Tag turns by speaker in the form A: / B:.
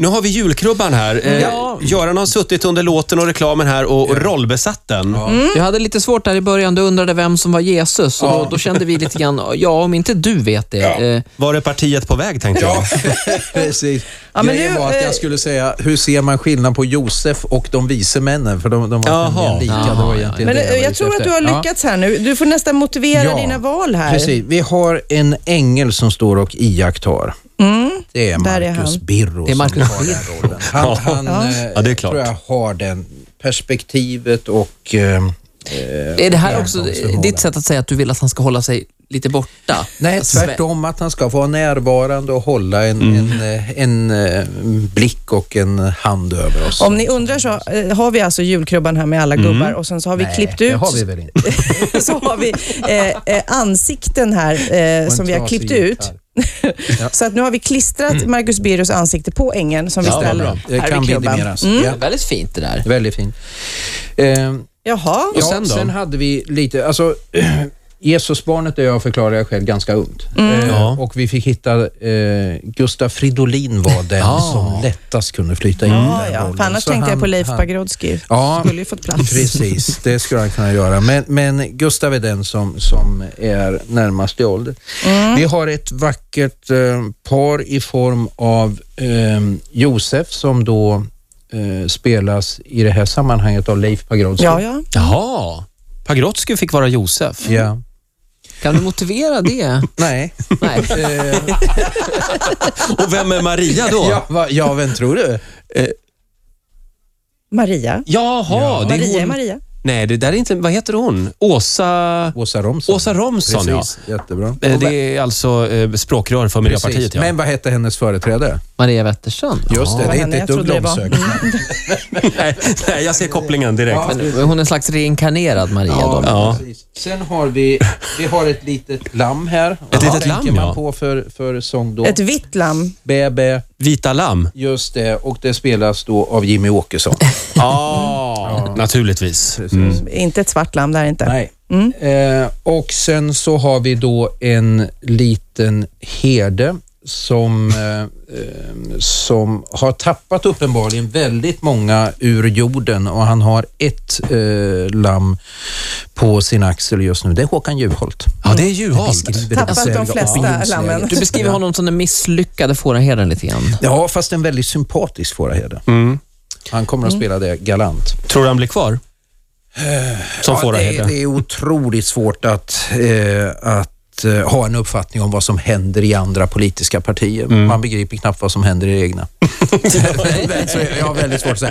A: Nu har vi julkrubban här. Eh,
B: Ja.
A: Göran har suttit under låten och reklamen här och, och rollbesatt den.
B: Jag hade lite svårt där i början. Du undrade vem som var Jesus och då, då kände vi lite grann, ja om inte du vet det.
C: Ja.
B: Eh,
A: Var är partiet på väg, tänkte jag.
C: Ja,
D: Precis.
E: Ja, men
D: Grejen
E: nu,
D: var att
E: eh,
D: jag skulle säga, hur ser man skillnad på Josef och de vise männen? För de, de var
A: Jaha.
D: tämligen lika. det
B: Jaha,
D: var
B: ja.
D: egentligen
E: Men
D: det
E: eh,
D: var
E: jag
D: ute
E: tror att
D: efter.
E: du har
D: Ja.
E: lyckats här nu. Du får nästan motivera
D: Ja,
E: dina val här.
D: Precis. Vi har en ängel som står och iakttar. Det är
E: Mm. Där är
D: Marcus
E: han.
D: Birro
B: Det är Marcus
D: som tar den rollen. Han,
A: Ja.
D: han eh,
A: Ja, det är klart.
D: tror jag har den perspektivet och... Eh,
B: är det här också
D: Närgångsförmåga.
B: ditt sätt att säga att du vill att han ska hålla sig lite borta?
D: nej,
B: Att sve-
D: tvärtom att han ska få vara närvarande och hålla en, en, eh, en, eh, blick och en hand över oss.
E: Om ni undrar så eh, har vi alltså julkrubban här med alla gubbar och sen så har vi
D: Mm. Nej,
E: klippt
D: det
E: ut
D: har vi väl inte.
E: så har vi eh, eh, ansikten här eh,
D: en
E: som vi har
D: trasig
E: klippt ut. så att nu har vi
D: Mm.
E: klistrat Marcus Birros ansikte på ängen som vi
A: Ja, vad
E: ställer
A: bra.
D: Det
E: här
D: kan
E: vid klubban.
D: vidimeras. Ja,
B: Mm, Väldigt fint det där.
D: väldigt fint. Eh,
E: Jaha,
D: Ja,
A: sen
D: sen,
A: då?
D: hade vi lite, alltså Jesusbarnet är jag förklarar jag själv ganska ungt. Eh,
A: Ja.
D: Och vi fick hitta eh, Gustaf Fridolin var den
B: Ja.
D: som lättast kunde flyta in i
E: ja,
D: den
E: ja.
D: rollen.
E: För annars
D: Mm. Så
E: tänkte jag
D: han-
E: på Leif
D: han-
E: Pagrotsky.
D: Ja,
E: Skulle ju fått plats.
D: Precis, det skulle han kunna göra. Men, men Gustav är den som, som är närmast i ålder.
E: Mm.
D: Vi har ett vackert eh, par i form av eh, Josef som då eh, spelas i det här sammanhanget av Leif Pagrotsky.
E: Ja, ja.
A: Jaha. Pagrotsky fick vara Josef.
D: Ja.
B: Kan du motivera det?
D: Nej.
B: Nej.
D: Eh,
A: Och vem är Maria då?
D: Ja, va, ja, vem tror du?
E: Maria.
A: Jaha, det är
E: Maria är
A: hon.
E: Maria.
A: Nej, det där är inte... Vad heter hon? Åsa...
D: Åsa Romson.
A: Åsa Romson,
D: Precis, jättebra.
A: ja. Eh, Det är alltså eh, språkrör för Miljöpartiet,
D: Precis.
A: ja.
D: Men vad hette hennes företrädare?
B: Maria Wetterstrand?
D: Just det,
E: Vad
D: det är
E: henne?
D: inte
E: Jag
D: ett dugg
E: trodde det var-
D: långsökt.
A: nej, nej, jag ser kopplingen direkt.
D: Ja.
B: Men Hon är en slags reinkarnerad Maria då?
A: Ja.
D: precis. Sen har vi, vi har ett litet lamm här. Vad
A: litet
D: tänker
A: lamm,
D: man
A: ja.
D: på för, för sång då?
E: Ett vitt lamm.
D: bä, bä.
A: Vita lamm.
D: Just det, och det spelas då av Jimmy Åkesson.
A: ja, naturligtvis.
E: Inte ett svart lamm där inte.
D: Mm. Nej.
E: Mm.
D: Eh, och sen så har vi då en liten herde som, eh, eh, som har tappat uppenbarligen väldigt många ur jorden och han har ett eh, lamm på sin axel just nu. Det är Håkan Juholt.
A: Ja, det är Juholt.
E: Tappat de
D: Alltså,
E: flesta lammen.
B: Du beskriver honom som den misslyckade fåraherden lite grann.
D: Ja, fast en väldigt sympatisk fåraherde. Han kommer att spela det galant.
A: Tror du han blir kvar? Som
D: Eh, Ja, det,
A: fåraherde?
D: det är otroligt svårt att, eh, att eh, ha en uppfattning om vad som händer i andra politiska partier. Man begriper knappt vad som händer i det egna. Så jag har väldigt svårt att säga.